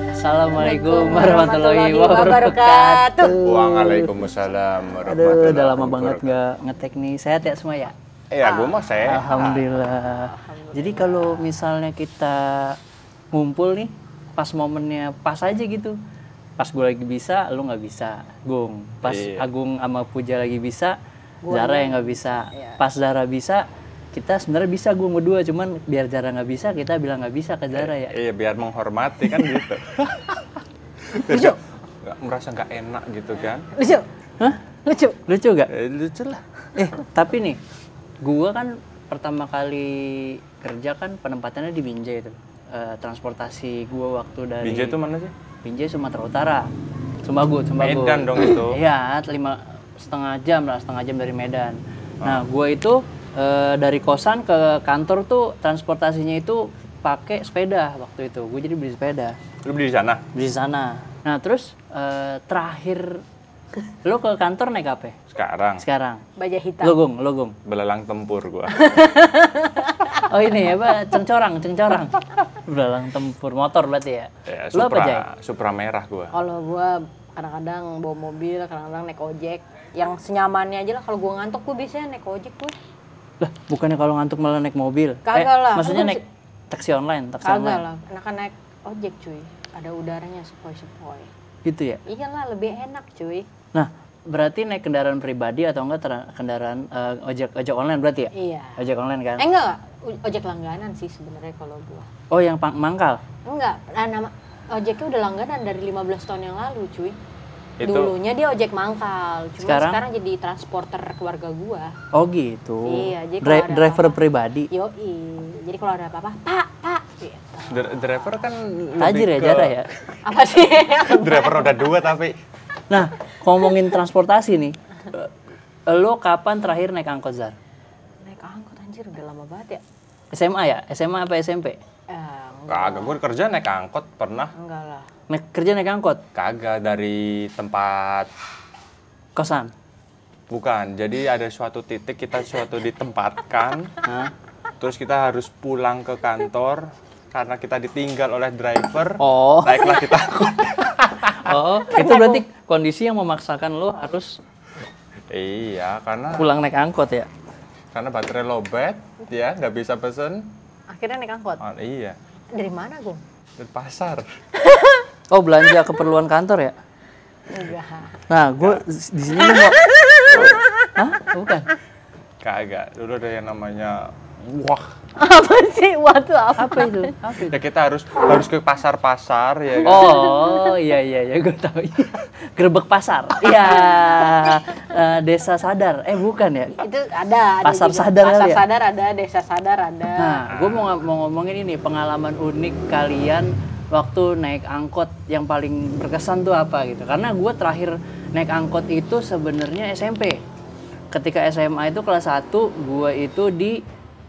Assalamualaikum warahmatullahi wabarakatuh. wabarakatuh. Waalaikumsalam warahmatullahi Aduh, udah lama banget wabarakatuh. nggak ngetek nih. Sehat ya semua ya? Ya, gue mah saya. Alhamdulillah. Jadi kalau misalnya kita ngumpul nih, pas momennya pas aja gitu. Pas gue lagi bisa, lu nggak bisa. Gung. Pas Iya. Agung sama Puja lagi bisa, Zara yang nggak bisa. Pas Zara bisa, kita sebenarnya bisa gue berdua. Cuman biar Zara nggak bisa, kita bilang nggak bisa ke Zara ya. Iya, biar menghormati kan gitu. Terus Iya. nggak- nggak merasa nggak enak gitu kan? Lucu. Hah? Lucu. Lucu gak? Eh, lucu lah. Eh, tapi nih, gua kan pertama kali kerja kan penempatannya di Binjai itu. Eh, transportasi gua waktu dari Bija itu mana sih? Binjai Sumatera Utara. Sumbagut, Sumbagut. Medan dong itu. Iya, lima setengah jam lah, setengah jam dari Medan. Ah. Nah, gua itu eh, dari kosan ke kantor tuh transportasinya itu pakai sepeda waktu itu. Gue jadi beli sepeda Lu beli di sana? beli di sana. Nah, terus eh, terakhir lo ke kantor naik apa? ya? Sekarang Sekarang. Baja hitam. Logong, logong. belalang tempur gua. Oh ya, ini apa? Cengcorang, cengcorang. Belalang tempur motor berarti ya? Ya, Lo apa, Jai? Supra, Supra merah gua. Kalau gua kadang-kadang bawa mobil, kadang-kadang naik ojek. Yang senyamannya aja lah. Kalau gua ngantuk, gua biasanya naik ojek gua. Lah, bukannya kalau ngantuk malah naik mobil. Eh, Kagak lah. Maksudnya Kan naik taksi online, taksi Kagak online. lah. Enakan naik ojek cuy. Ada udaranya sepoi-sepoi. Gitu ya? Iyalah lebih enak cuy. Nah, berarti naik kendaraan pribadi atau enggak tra- kendaraan eh, ojek ojek online berarti ya? Iya. Ojek online kan? Eh enggak, enggak. O- ojek langganan sih sebenarnya kalau gua. Oh, yang pang- mangkal. Enggak, nah, nama ojeknya udah langganan dari 15 tahun yang lalu cuy. Itu- Dulunya dia ojek mangkal, cuma Sekarang? sekarang, jadi transporter keluarga gua. Oh, gitu. Iya, jadi Dri- kalau ada driver pribadi. Yoi. Jadi kalau ada apa-apa, Pak, Pak. Gitu. Dr- driver kan lebih Tajir ya ke- Jara ya. Apa sih? driver roda dua tapi Nah, ngomongin transportasi nih. eh, Lo kapan terakhir naik angkot, Zar? Naik angkot anjir udah lama banget ya. SMA ya? SMA apa SMP? Eh, kagak gua kerja naik angkot pernah enggak lah. Naik, kerja naik angkot? kagak dari tempat Kosan? Bukan, jadi ada suatu titik kita suatu ditempatkan, terus kita harus pulang ke kantor karena kita ditinggal oleh driver. Oh, Naiklah kita angkot. oh, itu berarti kondisi yang memaksakan lo harus iya, karena pulang naik angkot ya? karena baterai lowbat, ya nggak bisa pesen. Akhirnya naik angkot. Oh, iya, Dari mana, Gung? dari pasar. Oh, belanja keperluan kantor ya? Enggak. Nah, gue di sini lu mau... Hah? Bukan? Kagak, dulu ada yang namanya wah. apa sih? Waktu apa? Apa itu? Apa itu? Ya kita harus harus ke pasar-pasar ya kan. Oh, iya, iya, iya, gue tahu. Gerbek pasar. Iya, eh, desa sadar. Eh, bukan ya? Itu ada, ada Pasar juga. sadar Pasar kali ya? sadar ada, desa sadar ada. Nah, gue mau, mau ngomongin ini pengalaman unik kalian waktu naik angkot yang paling berkesan tuh apa gitu. Karena gue terakhir naik angkot itu sebenarnya SMP. Ketika SMA itu kelas 1, gue itu di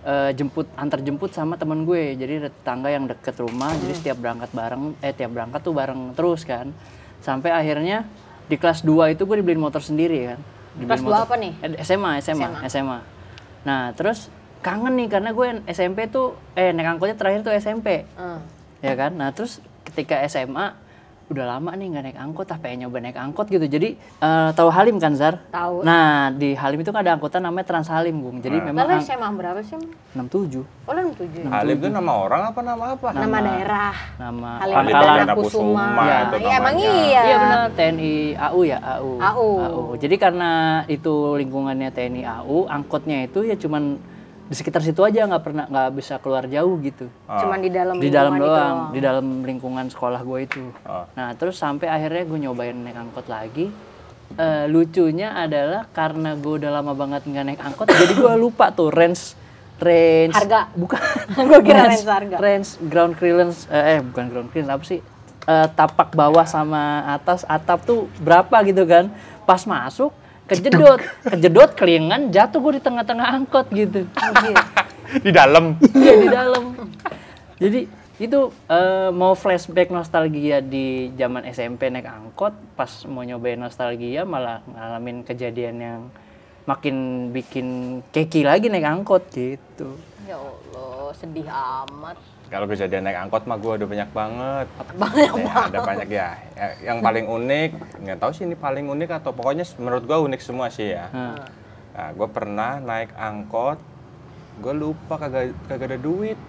eh, jemput antar jemput sama temen gue. Jadi ada tetangga yang deket rumah, jadi Hmm. setiap berangkat bareng eh tiap berangkat tuh bareng terus kan. Sampai akhirnya di kelas 2 itu gue dibeliin motor sendiri kan. Dibeliin Kelas dua motor- apa nih? Eh, SMA, SMA, SMA. Nah, terus kangen nih karena gue SMP tuh eh naik angkotnya terakhir tuh SMP. Hmm. Ya kan? Nah, terus ketika SMA udah lama nih nggak naik angkot, tapi pengen nyoba naik angkot gitu. Jadi eh, tahu Halim kan, Zar? Tahu. Nah, di Halim itu kan ada angkutan namanya Trans Halim, Gung. Jadi memang ang- Lalu SMA berapa sih? Em? 67 Oh, lu 7. Halim itu nama orang apa nama apa? Nama, daerah. nama Halim Halim Ah, pangkalan Perdana Kusuma, Iya, itu iya, emang namanya. iya. Iya benar TNI AU ya AU. AU. Jadi karena itu lingkungannya TNI AU, angkotnya itu ya cuman di sekitar situ aja nggak pernah nggak bisa keluar jauh gitu. Cuman di dalam gitu. di dalam lingkungan itu doang, di dalam lingkungan sekolah gue itu. Ah. Nah terus sampai akhirnya gue nyobain naik angkot lagi. Eh, lucunya adalah karena gue udah lama banget nggak naik angkot, jadi gue lupa tuh range range Harga. bukan Gua kira range harga. range ground clearance eh eh, bukan ground clearance apa sih Eh, tapak bawah sama atas atap tuh berapa gitu kan pas masuk kejedot kejedot kelingan jatuh gue di tengah-tengah angkot gitu Di dalam. iya di dalam jadi itu eh, mau flashback nostalgia di zaman SMP naik angkot pas mau nyobain nostalgia malah ngalamin kejadian yang makin bikin keki lagi naik angkot gitu Ya Allah. lo sedih amat. Kalau kejadian naik angkot mah gue udah banyak banget. Banyak Ya, ada banyak ya. Ya, Yang paling unik, nggak tahu sih ini paling unik atau pokoknya menurut gue unik semua sih ya. Hah. Nah, gue pernah naik angkot, gue lupa kagak kagak ada duit.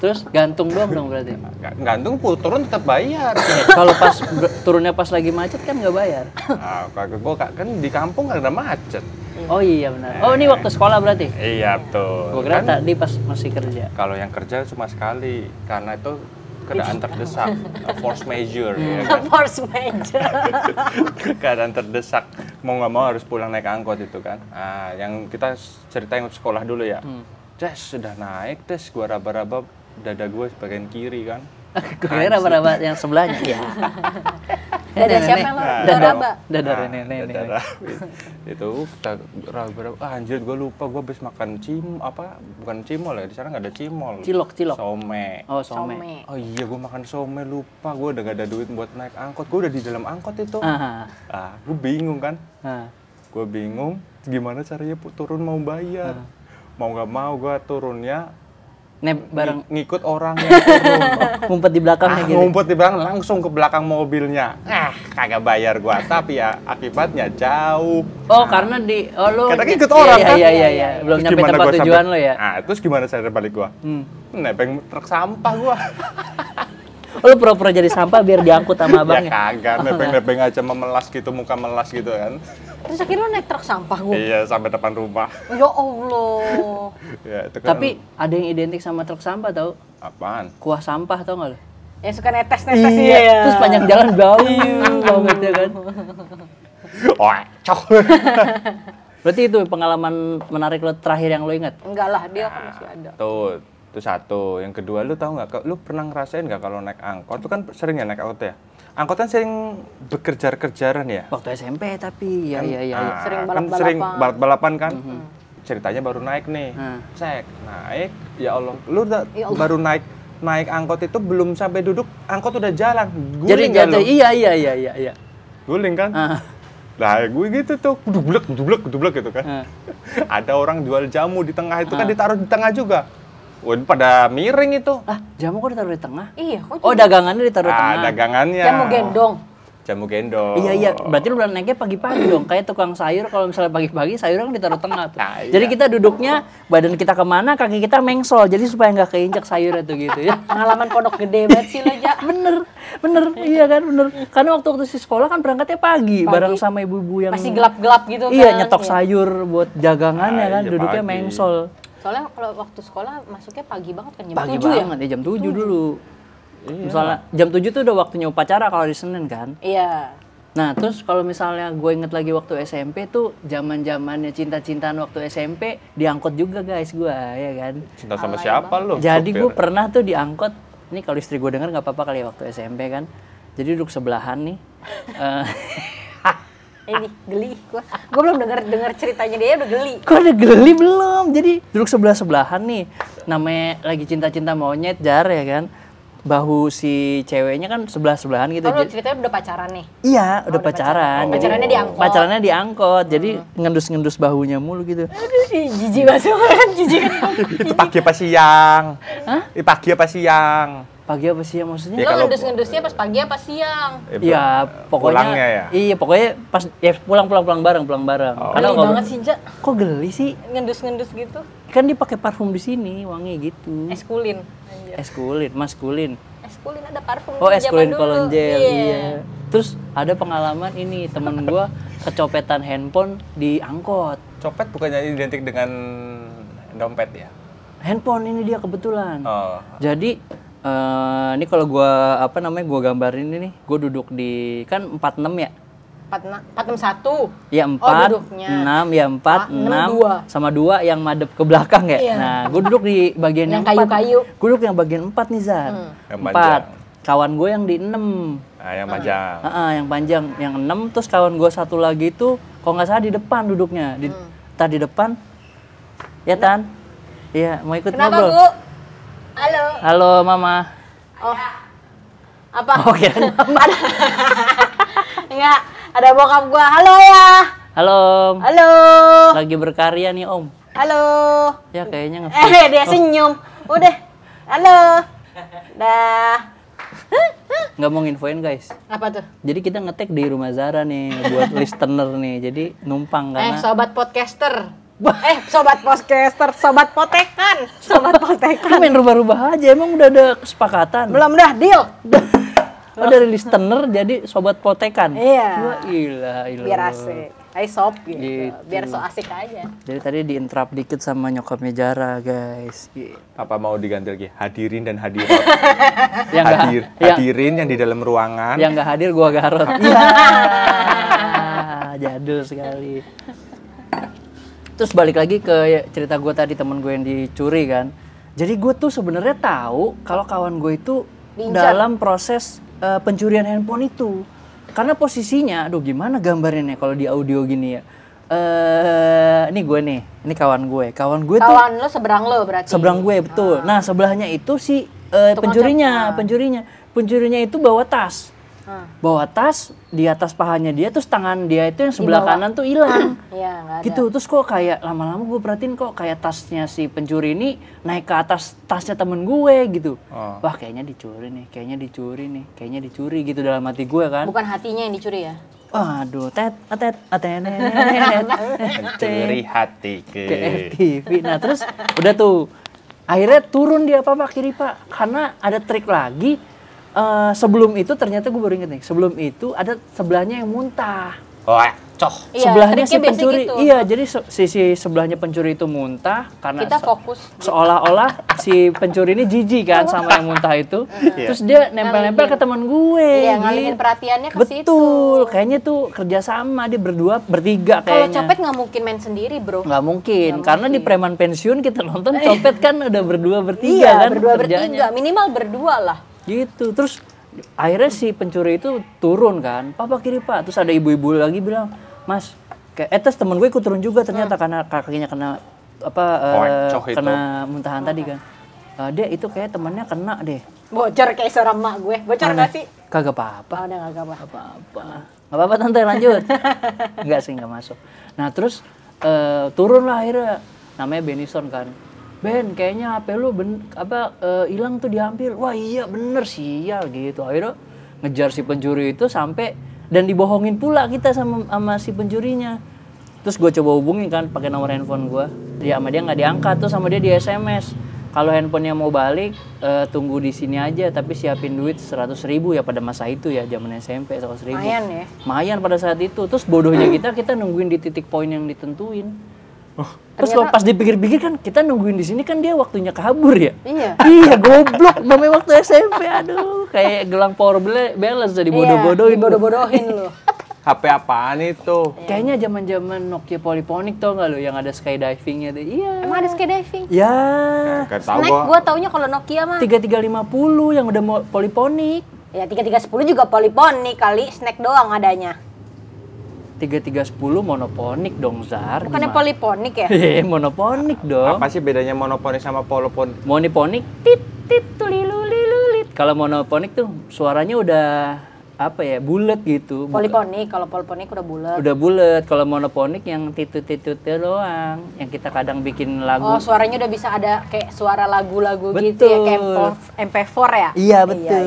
Terus gantung doang dong berarti. Nggak- Gantung pul- turun tetap bayar. Kalau pas ber- turunnya pas lagi macet kan nggak bayar. nah, kagak gue kan di kampung nggak ada macet. Oh iya benar. Oh ini waktu sekolah berarti. Iya betul. Gue kira Kan tadi pas masih kerja. Kalau yang kerja cuma sekali karena itu keadaan terdesak, force major Hmm. ya kan. Force major. keadaan terdesak mau nggak mau harus pulang naik angkot itu kan ah yang kita cerita yang sekolah dulu ya Hmm. Tes sudah naik tes gua raba-raba dada gua bagian kiri kan Gue kira raba-raba yang sebelahnya. Iya. Dada siapa yang lo Dada, raba? dada Nah, nenek. dada rabi. itu kita raba-raba ah, anjir gua lupa gua habis makan cim apa bukan cimol ya di sana nggak ada cimol Cilok, cilok. some Oh some. Some. oh iya gua makan some lupa gua udah gak ada duit buat naik angkot gua udah di dalam angkot itu Ah, ah gua bingung kan ah. gue bingung gimana caranya pu- turun mau bayar Ah. mau nggak mau gue turunnya Nih bareng ng- ngikut orang yang turun ngumpet di belakangnya ah, gitu. ngumpet di belakang langsung ke belakang mobilnya ah kagak bayar gue tapi ya akibatnya jauh Oh karena di oh lu Karena ikut Iya, orang, iya, kan? Iya iya iya. Belum Terus nyampe gimana tempat gua sampai- tujuan lo ya. ah terus gimana cara balik gue Hmm. nebeng truk sampah gue Oh, lu pura-pura jadi sampah biar diangkut sama ya abangnya. kagak nebeng nebeng aja memelas gitu muka melas gitu kan Terus akhirnya lo naik truk sampah Oh. gue. iya sampai depan rumah Ya Allah. ya itu kan Tapi ada yang identik sama truk sampah tau? apaan Kuah sampah tau nggak lo? Yang suka netes-netes Iya. iya. Terus panjang jalan bau banget ya kan. oh cok Berarti itu pengalaman menarik lo terakhir yang lo ingat? Enggak lah, dia kan masih ada. Tuh, itu satu. Yang kedua, lu tahu nggak? ke- Lu pernah ngerasain nggak kalau naik angkot? Lu kan sering ya naik angkot ya? Angkot kan sering bekerjar-kerjaran ya? Waktu SMP tapi ya iya iya. Mm-hmm. iya. Ah, Sering kan balap-balapan. sering balap-balapan kan? Ceritanya baru naik nih. Hmm. Cek, naik. Ya Allah, lu udah baru naik naik angkot itu belum sampai duduk, angkot udah jalan. Jadi Guling nggak jatuh lu? iya iya iya iya iya. Guling kan? Ah, Nah, gue gitu tuh, dublek, dublek, dublek gitu ah. kan. Ada orang jual jamu di tengah itu kan ditaruh di tengah juga. Wah, pada miring itu. Ah, jamu kok ditaruh di tengah? Iya, kok Oh, dagangannya ditaruh di ah, tengah. dagangannya. Dia mau gendong. Jamu gendong. Iya iya, berarti lu udah naiknya pagi-pagi dong. Kayak tukang sayur kalau misalnya pagi-pagi sayurnya kan ditaruh tengah tuh. Nah, iya. Jadi kita duduknya badan kita kemana, kaki kita mengsol. Jadi supaya nggak keinjak sayurnya tuh gitu ya. Pengalaman pondok gede banget sih lo, Ja. bener, bener, iya kan bener. Karena waktu waktu si sekolah kan berangkatnya pagi, bareng sama ibu-ibu yang Masih gelap-gelap gitu kan. Iya nyetok sayur buat dagangannya Ah, kan, iya, duduknya pagi. mengsol. Soalnya kalau waktu sekolah masuknya pagi banget kan jam Pagi 7 ya. banget ya jam 7 dulu. Misalnya jam 7 tuh udah waktunya upacara kalau di Senin kan. Iya. Nah, terus kalau misalnya gue inget lagi waktu SMP tuh zaman-zamannya cinta-cintaan waktu SMP diangkut juga guys gue ya kan. Cinta sama siapa lu? Jadi gue supir? pernah tuh diangkut. Ini kalau istri gue denger nggak apa-apa kali ya waktu SMP kan. Jadi duduk sebelahan nih. Eh, Eh, Ini geli gua. Gua belum denger denger ceritanya dia udah geli. Kok ada geli belum? Jadi duduk sebelah-sebelahan nih. Namanya lagi cinta-cinta monyet jar ya kan. Bahu si ceweknya kan sebelah-sebelahan gitu. Kalau Jadi- ceritanya udah pacaran nih. Iya, udah pacaran. Jadi- Pacarannya diangkot. Pacarannya Hmm. diangkot. Jadi ngendus-ngendus bahunya mulu gitu. Aduh, ih, jijik banget sama kan jijik kan. Itu pagi apa siang? Hah? Pagi apa siang? Pagi apa sih ya maksudnya? Ya, Lo kalau- ngendus-ngendusnya pas pagi apa siang? Eh, Iya, pokoknya Pulangnya ya? Oh. Iya, pokoknya pas ya pulang-pulang pulang bareng, pulang bareng. Geli kalau- banget sih, Ja. Kok geli sih? Ngendus-ngendus gitu. Kan dipakai parfum di sini, wangi gitu. Es kulin. Es kulin, maskulin. Es kulin ada parfum Oh, es zaman kulin dulu. kolon gel, Iya. iya. Terus ada pengalaman ini, temen gua kecopetan handphone di angkot. Copet bukannya identik dengan dompet ya? Handphone ini dia kebetulan. Oh. Jadi eh, ini kalau gua apa namanya gua gambarin ini nih, gua duduk di kan 46 ya. Empat na- empat enam satu. Ya Oh, 4, duduknya. Ah, 6, ya 4, enam, 6, sama 2 yang madep ke belakang ya. Iya. Nah, gue duduk di bagian yang empat. Yang kayu-kayu. Hmm. Gua duduk yang bagian 4 nih, Zan. Yang 4. Kawan gue yang di 6. Ah, yang panjang. Heeh, yang panjang, yang 6 terus kawan gue satu lagi itu kalau nggak salah di depan duduknya. Di Hmm. tar di depan. Ya, Tan. Iya, mau ikut Kenapa, ngobrol. Bu? Halo. Halo, Mama. Oh. Apa? Oh, kirain Enggak, ada bokap gua. Halo ya. Halo, Om. Halo. lagi berkarya nih om Halo. ya kayaknya nge Eh, dia senyum. Udah. Halo. Dah. nggak mau nginfoin guys Apa tuh? jadi kita ngetek di rumah Zara nih buat listener nih jadi numpang Eh, karena sobat podcaster. eh, sobat podcaster, sobat potekan, Lu sobat potekan. main rubah-rubah aja emang udah ada kesepakatan Belum dah deal. oh, dari listener jadi sobat potekan Iya. Wah, ila, ila. Biar asik. Ayo sob gitu. Gitu. Biar so asik aja. jadi tadi diinterap dikit sama nyokapnya Zara guys apa mau diganti lagi hadirin dan hadirat yang nggak hadir yang, hadirin yang di dalam ruangan yang nggak hadir gua garot jadul sekali terus balik lagi ke cerita gue tadi temen gue yang dicuri kan jadi gue tuh sebenarnya tahu kalau kawan gue itu Diincar. dalam proses eh, pencurian handphone itu karena posisinya aduh gimana gambarnya nih kalau di audio gini ya eh ini gue nih ini kawan gue kawan gue tuh Kawan lo seberang lo berarti. seberang gue betul. Nah sebelahnya itu si eh, pencurinya, pencurinya, pencurinya itu bawa tas, Ah. bawa tas di atas pahanya dia, terus tangan dia itu yang sebelah kanan tuh hilang. Iya, enggak ada. gitu terus kok kayak lama-lama gue perhatiin kok kayak tasnya si pencuri ini naik ke atas tasnya temen gue gitu Oh. wah kayaknya dicuri nih kayaknya dicuri nih kayaknya dicuri gitu dalam hati gue kan Bukan hatinya yang dicuri ya. waduh tet atet atet Curi hati ke FTV. Nah terus udah tuh akhirnya turun dia apa pak kiri pak karena ada trik lagi Eh, sebelum itu ternyata gue baru inget nih sebelum itu ada sebelahnya yang muntah Wah, Oh, eh, coh. Iya, sebelahnya si triknya biasanya pencuri gitu. iya jadi se- sisi sebelahnya pencuri itu muntah karena se- Kita fokus. Iya. seolah-olah si pencuri ini jijik kan sama yang muntah itu terus dia nempel-nempel ke teman gue Iya, gitu. ngalihin perhatiannya ke situ. betul kayaknya tuh kerjasama dia berdua bertiga Kalau kayaknya Iya copet nggak mungkin main sendiri, Bro. nggak mungkin karena di preman pensiun kita nonton copet kan udah berdua bertiga Iya, kan berdua kerjaannya. bertiga, minimal berdua lah. gitu terus akhirnya si pencuri itu turun kan papa kiri pak terus ada ibu-ibu lagi bilang mas kayak eh terus temen gue ikut turun juga ternyata karena kakinya kena apa eh, Kocoh itu. kena muntahan tadi kan Eh, dia itu kayak temennya kena deh Bocor kayak suara emak gue. Bocor nggak sih? kagak apa-apa Oh, udah nggak apa-apa. apa-apa. Gak apa-apa tante lanjut. Enggak sih nggak masuk. Nah terus eh, turun lah akhirnya namanya Benison kan. Ben kayaknya HP lu ben, apa eh, hilang tuh diambil. Wah iya bener sial gitu. Akhirnya ngejar si pencuri itu sampai dan dibohongin pula kita sama sama si pencurinya. Terus gue coba hubungin kan pakai nomor handphone gue. Dia sama dia nggak diangkat tuh sama dia di SMS. Kalau handphonenya mau balik eh, tunggu di sini aja tapi siapin duit 100.000 ribu ya pada masa itu ya zaman SMP 100.000 ribu. Lumayan ya. Mayan pada saat itu. Terus bodohnya kita kita nungguin di titik poin yang ditentuin. Terus kalau pas dipikir-pikir kan kita nungguin di sini kan dia waktunya kabur ya. Iya. iya goblok namanya waktu SMP aduh kayak gelang power bla- balance jadi bodoh-bodohin. Iya, bodoh-bodohin lu. HP apaan itu? Kayaknya zaman-zaman Nokia Polyphonic tau nggak lo yang ada skydivingnya tuh? Iya. Emang ada skydiving? Ya. Gak tahu Snack gua. gue taunya kalau Nokia mah. 3350 yang udah mau Polyphonic. Ya 3310 juga poliponik kali, snack doang adanya. 3310 monoponik dong Zar. Bukannya Gimana? poliponik ya? Hehehe, monoponik dong. Apa sih bedanya monoponi sama polopon? Monoponik tit tit tulilu lilulit. Kalau monoponik tuh suaranya udah apa ya bulat gitu. Bukan- Poliponik, kalau poliponik udah bulat. udah bulat. Kalau monoponik yang titut-titut doang, yang kita kadang bikin lagu Oh, suaranya udah bisa ada kayak suara lagu-lagu gitu ya, kayak Betul. MP4 ya? Iya betul.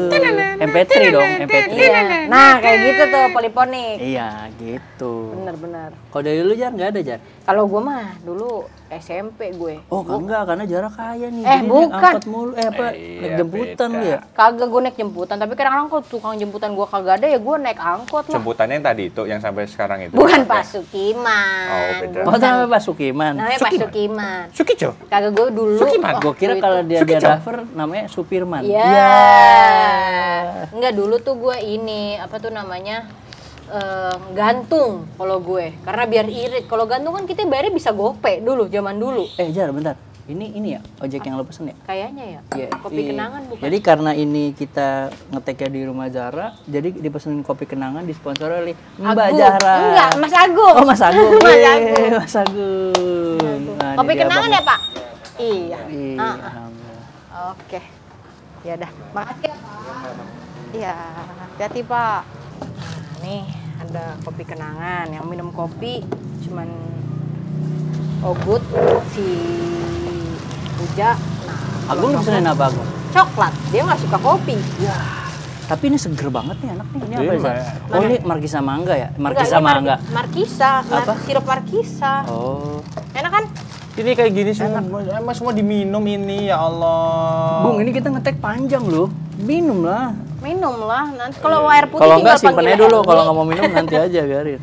MP3 dong, MP3. Iya. Nah, kayak gitu tuh poliponik. Iya gitu. Bener-bener. Kalau dari lu jar nggak ada jar? Kalau gue mah dulu SMP gue. Oh enggak karena jarak kaya nih. Eh, Jadi naik bukan. Angkot mulu eh apa naik jemputan lu ya? Kagak gue naik jemputan, tapi kadang-kadang kalau tukang jemputan gue kagak ada ya gue naik angkot lah. Jemputannya yang tadi itu yang sampai sekarang itu. Bukan Pak Sukiman. Oh, beda. Oh namanya Pak Sukiman. Namanya Pak Sukiman. Sukijo. Kagak gue dulu. Sukiman, Gue Nah, waktu kira itu- kalau dia dia Sukijo. driver namanya Supirman. Iya. Enggak dulu tuh gue ini apa tuh namanya eh, gantung kalau gue karena biar irit kalau gantung kan kita bayarnya bisa gope dulu zaman dulu Eh jar bentar. Ini ini ya ojek yang lo pesen ya? kayaknya ya Iya. kopi iya. kenangan bukan Jadi karena ini kita ngeteknya di rumah Zara, jadi dipesenin kopi kenangan disponsori oleh Mbak Agung. Zara. enggak Mas Agung Oh Mas Agung. Mas Yeay, Agung. Mas Agung. Nah, ini kopi dia kenangan abang- ya Pak iya Iya. Ah, alhamdulillah. Oke. Ya udah. Makasih ya, Pak. Iya, hati-hati, Pak. Nah, nih ada kopi kenangan. Yang minum kopi cuman Ogut, si Uja, nah, Agung dipesenin apa Agung? Coklat. Dia nggak suka kopi. Iya. Tapi ini seger banget nih anak nih. Ini Iya, apa Zah? Mbak. Oh ini Markisa Mangga ya? Nggak, Markisa ini mar- Mangga. Markisa. Mar- Apa? Sirup Markisa. Oh. Enak kan? Ini kayak gini semua, emang semua diminum ini ya Allah. Bung ini kita ngetek panjang loh. Minum lah. Minum lah. Nanti kalau air Iya. putih Kalau enggak tinggal simpen panggil aja dulu. Elmi. Kalau nggak mau minum nanti aja biarin.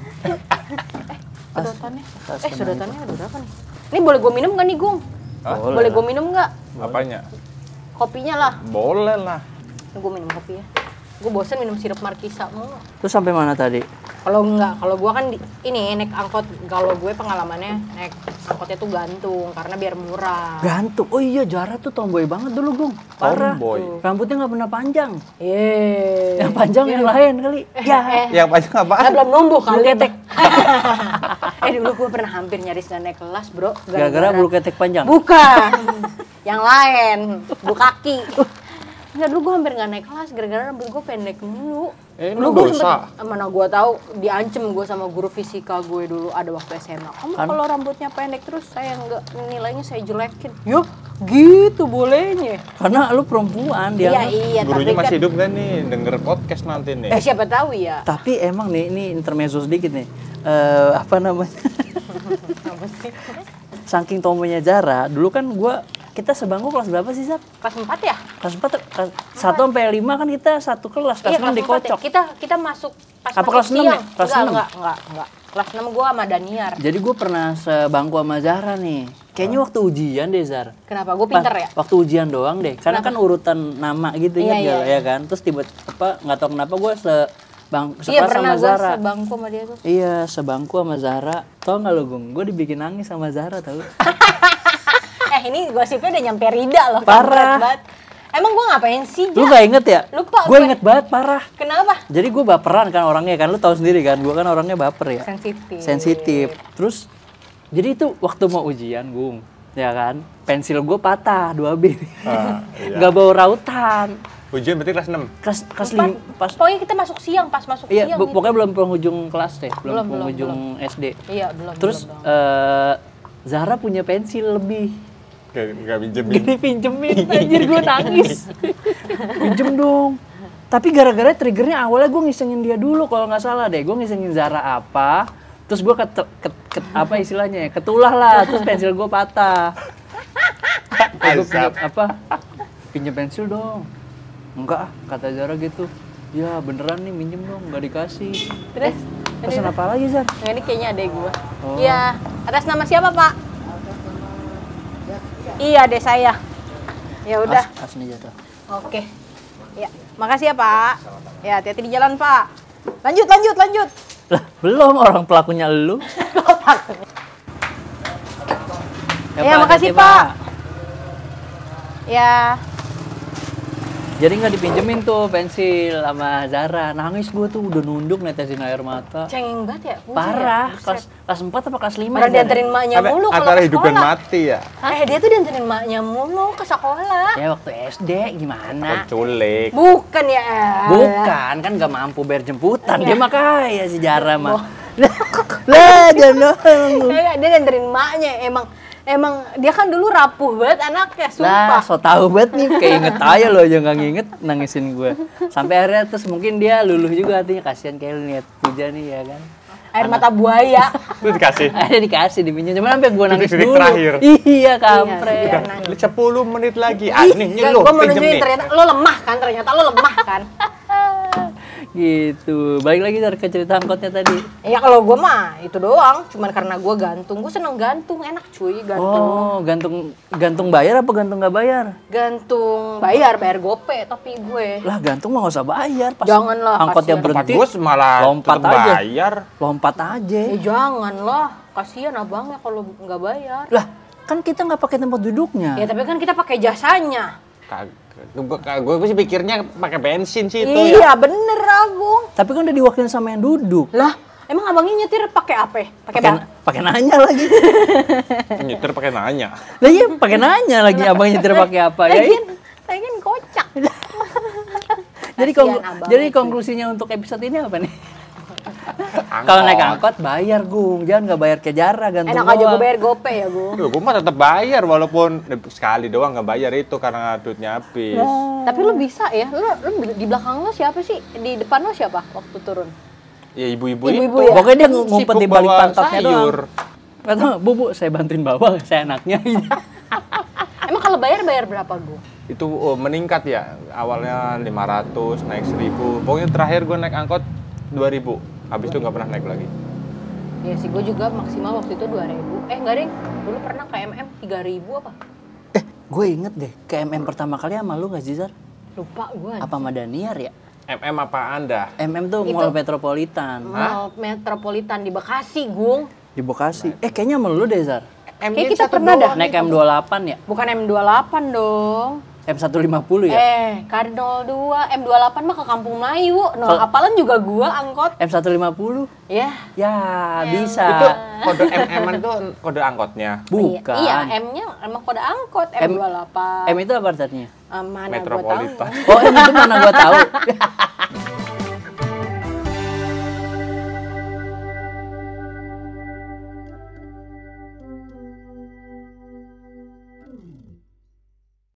Sedotannya. tas Eh kena sedotannya ada berapa nih? Ini boleh gue minum nggak nih Gung? Hah? Boleh boleh lah. gue minum nggak? Apanya? Kopinya lah. Boleh lah. Gue minum kopi ya. Gue bosen minum sirup markisa mulu. Terus sampai mana tadi? Kalau nggak, kalau gue kan di- ini naik angkot. Kalau gue pengalamannya naik angkotnya tuh gantung karena biar murah. Gantung. Oh iya Jara tuh tomboy banget dulu Gung. Parah. Tomboy. Rambutnya nggak pernah panjang. Yeay. Yang panjang iya. yang lain kali. Eh, Ya. Yang banyak apaan? Nah, belum numbuh kalau Bulu dia ketek. eh dulu gue pernah hampir nyaris nggak naik kelas bro. Gara-gara bulu ketek panjang. Bukan. yang lain. Bulu kaki. Enggak dulu gue hampir nggak naik kelas gara-gara rambut gue pendek dulu. Eh, Dulu lu gue dosa. sempet- mana gue tahu diancem gue sama guru fisika gue dulu ada waktu SMA. Kamu Kan? kalau rambutnya pendek terus saya nggak nilainya saya jelekin. Yuh, gitu bolehnya. Karena lu perempuan dia. Iya iya tapi Gurunya kan masih hidup kan nih, denger podcast nanti nih. eh siapa tahu ya. Tapi emang nih ini intermezzo sedikit nih. Eh, apa namanya? Apa sih? Saking tomboynya Jara, dulu kan gua kita sebangku kelas berapa sih, Zap? Kelas 4 ya? Kelas 4, kelas 1 sampai 5 kan kita satu kelas, kelas Iya, 6 kelas empat ya. dikocok. Kita kita masuk pas Apa masuk kelas enam ya? siang. Kelas enggak, enam? enggak, enggak, enggak. Kelas 6 gua sama Daniar. Jadi gue pernah sebangku sama Zara nih. Kayaknya waktu ujian deh, Zar. Kenapa? Gua pinter ya? Waktu ujian doang deh. Karena kan urutan nama gitu Iya, ingat iya, nggak lo, ya kan. Terus tiba apa nggak tahu kenapa gue se bang Iya, sekelas pernah sama gua Zara. sebangku sama dia tuh. Iya, sebangku sama Zara. Tau nggak lo, Gung? Gue dibikin nangis sama Zara tau. Eh, ini gosipnya udah nyampe Rida loh. Parah. berat banget. Emang gua ngapain sih? Lu Ja? gak inget ya? Lupa Gue gue. inget banget, parah. Kenapa? Jadi gue baperan kan orangnya kan, lu tahu sendiri kan, gue kan orangnya baper ya. Sensitif. Sensitif. Terus, jadi itu waktu mau ujian, Gung. Ya kan, pensil gue patah, dua B. Ah, iya. Gak bawa rautan. Ujian berarti kelas 6. Kelas, kelas Empat. lim- pas, Pokoknya kita masuk siang, pas masuk iya, siang. bu- gitu. pokoknya belum penghujung kelas deh, belum, Belum, belum, penghujung SD. Iya, belum. Terus, belum, belum. eh, Zara punya pensil lebih. Gak, gak pinjemin. Gini pinjemin, anjir gue nangis. Iya. Pinjem dong. Tapi gara-gara triggernya awalnya gue ngisengin dia dulu kalau nggak salah deh. Gue ngisengin Zara apa, terus gue ket, ket- ket- apa istilahnya ya, ketulah lah, terus pensil gue patah. Eh, gue pinjam, apa? Pinjem pensil dong. Enggak, ah, kata Zara gitu. Ya beneran nih minjem dong, nggak dikasih. Terus? Eh, Terus apa lagi Zar? Nah, ini kayaknya adek gue. Oh. Iya. Atas nama siapa, Pak? Iya, adek saya. Ya udah. As, asnya jatuh. Oke. Ya, makasih ya, Pak. Ya, hati-hati di jalan, Pak. Lanjut, lanjut, lanjut. Lah, belum orang pelakunya lu. Iya, Pak, hati-hati, makasih, Pak. Ya. Jadi nggak dipinjemin tuh pensil sama Zara. Nangis gue tuh udah nunduk netesin air mata. Cengeng banget ya? Buset, Parah. buset. Kelas, kelas 4 apa kelas 5? Orang dianterin maknya Apa- mulu kalau antara ke hidup dan sekolah. mati ya. Eh, dia tuh dianterin maknya mulu ke sekolah. Ya waktu SD gimana? Penculik. Bukan ya? elah. Bukan, kan nggak mampu bayar jemputan. Iya. Dia mah kaya si Zara mah. lah jangan dia dengerin maknya emang emang dia kan dulu rapuh banget anaknya Lah, sumpah so tau banget nih. Kayak inget aja loh, jangan nginget nangisin gue. Sampai akhirnya terus mungkin dia luluh juga hatinya. Kasihan kayak lu lihat puja nih ya kan. air mata buaya Lu dikasih. Akhirnya dikasih dipinjam. Cuman sampai gue nangis Titik-titik dulu. terakhir. Iya, Iya, kampret. nah. Lu 10 menit lagi. Ah, nih, nih lu gue mau pinjem nunjukin nih. ternyata lo lemah kan ternyata lo lemah kan gitu balik lagi dari ke cerita angkotnya tadi ya kalau gue mah itu doang cuman karena gue gantung gue seneng gantung enak cuy gantung oh gantung gantung bayar apa gantung nggak bayar gantung bayar bayar gope tapi gue lah gantung mah nggak usah bayar pas Jangan lah, angkotnya kasihan. Pak berhenti Gus malah lompat tetep aja. bayar. lompat aja ya jangan lah kasihan abangnya kalau nggak bayar lah kan kita nggak pakai tempat duduknya ya tapi kan kita pakai jasanya Gue sih pikirnya pakai bensin sih itu ya. iya bener agung tapi kan udah diwakilin sama yang duduk Lah, emang abangnya nyetir pakai apa? Pakai pakai bang? na- pakai nanya lagi Nyetir pakai nanya. lah iya pakai nanya lagi abang nyetir pakai apa ya Lagian, lagian kocak. jadi kasihan konglu- abang ya. jadi itu. konklusinya untuk episode ini apa nih Kalau naik angkot bayar gung, jangan nggak bayar ke jarak gantung. Enak aja doang. gue bayar gope ya gue. Duh, gue mah tetap bayar walaupun sekali doang nggak bayar itu karena duitnya habis. Tapi lu bisa ya, lu, lu di belakang lu siapa sih? Di depan lu siapa waktu turun? Ya ibu-ibu itu. Ibu-ibu ya? Pokoknya dia Iya. ngumpet sibuk di balik bawa pantatnya sayur. doang. Kata, bu, bu, saya bantuin bawa, saya anaknya. Emang kalau bayar bayar berapa gue? Itu oh, meningkat ya. Awalnya 500, naik 1000. Pokoknya terakhir gue naik angkot 2000. Habis itu nggak pernah naik lagi. Ya sih gue juga maksimal waktu itu 2000. Eh enggak deh, dulu pernah ke MM 3000 apa? eh, gue inget deh, KMM pertama kali sama lu nggak Zizar? Lupa gue. Apa sama Daniar ya? MM apa Anda? MM tuh Itu. Mall Metropolitan Mall Metropolitan di Bekasi, Gung. di Bekasi. Eh, kayaknya sama lu deh, Zar. Kayak kita pernah dah. Naik M28 ya? Bukan M28 dong. M150 ya? Eh, Kar 02, M28 mah ke Kampung Melayu. Nah, Kalau- apalan juga gua angkot. M150? Ya. Ya, bisa. Itu kode MM itu kode angkotnya. Bukan. Iya, M-nya emang kode angkot M28. M itu apa artinya? Eh, mana gua tahu. Metropolitan. Oh, M itu mana gua tahu.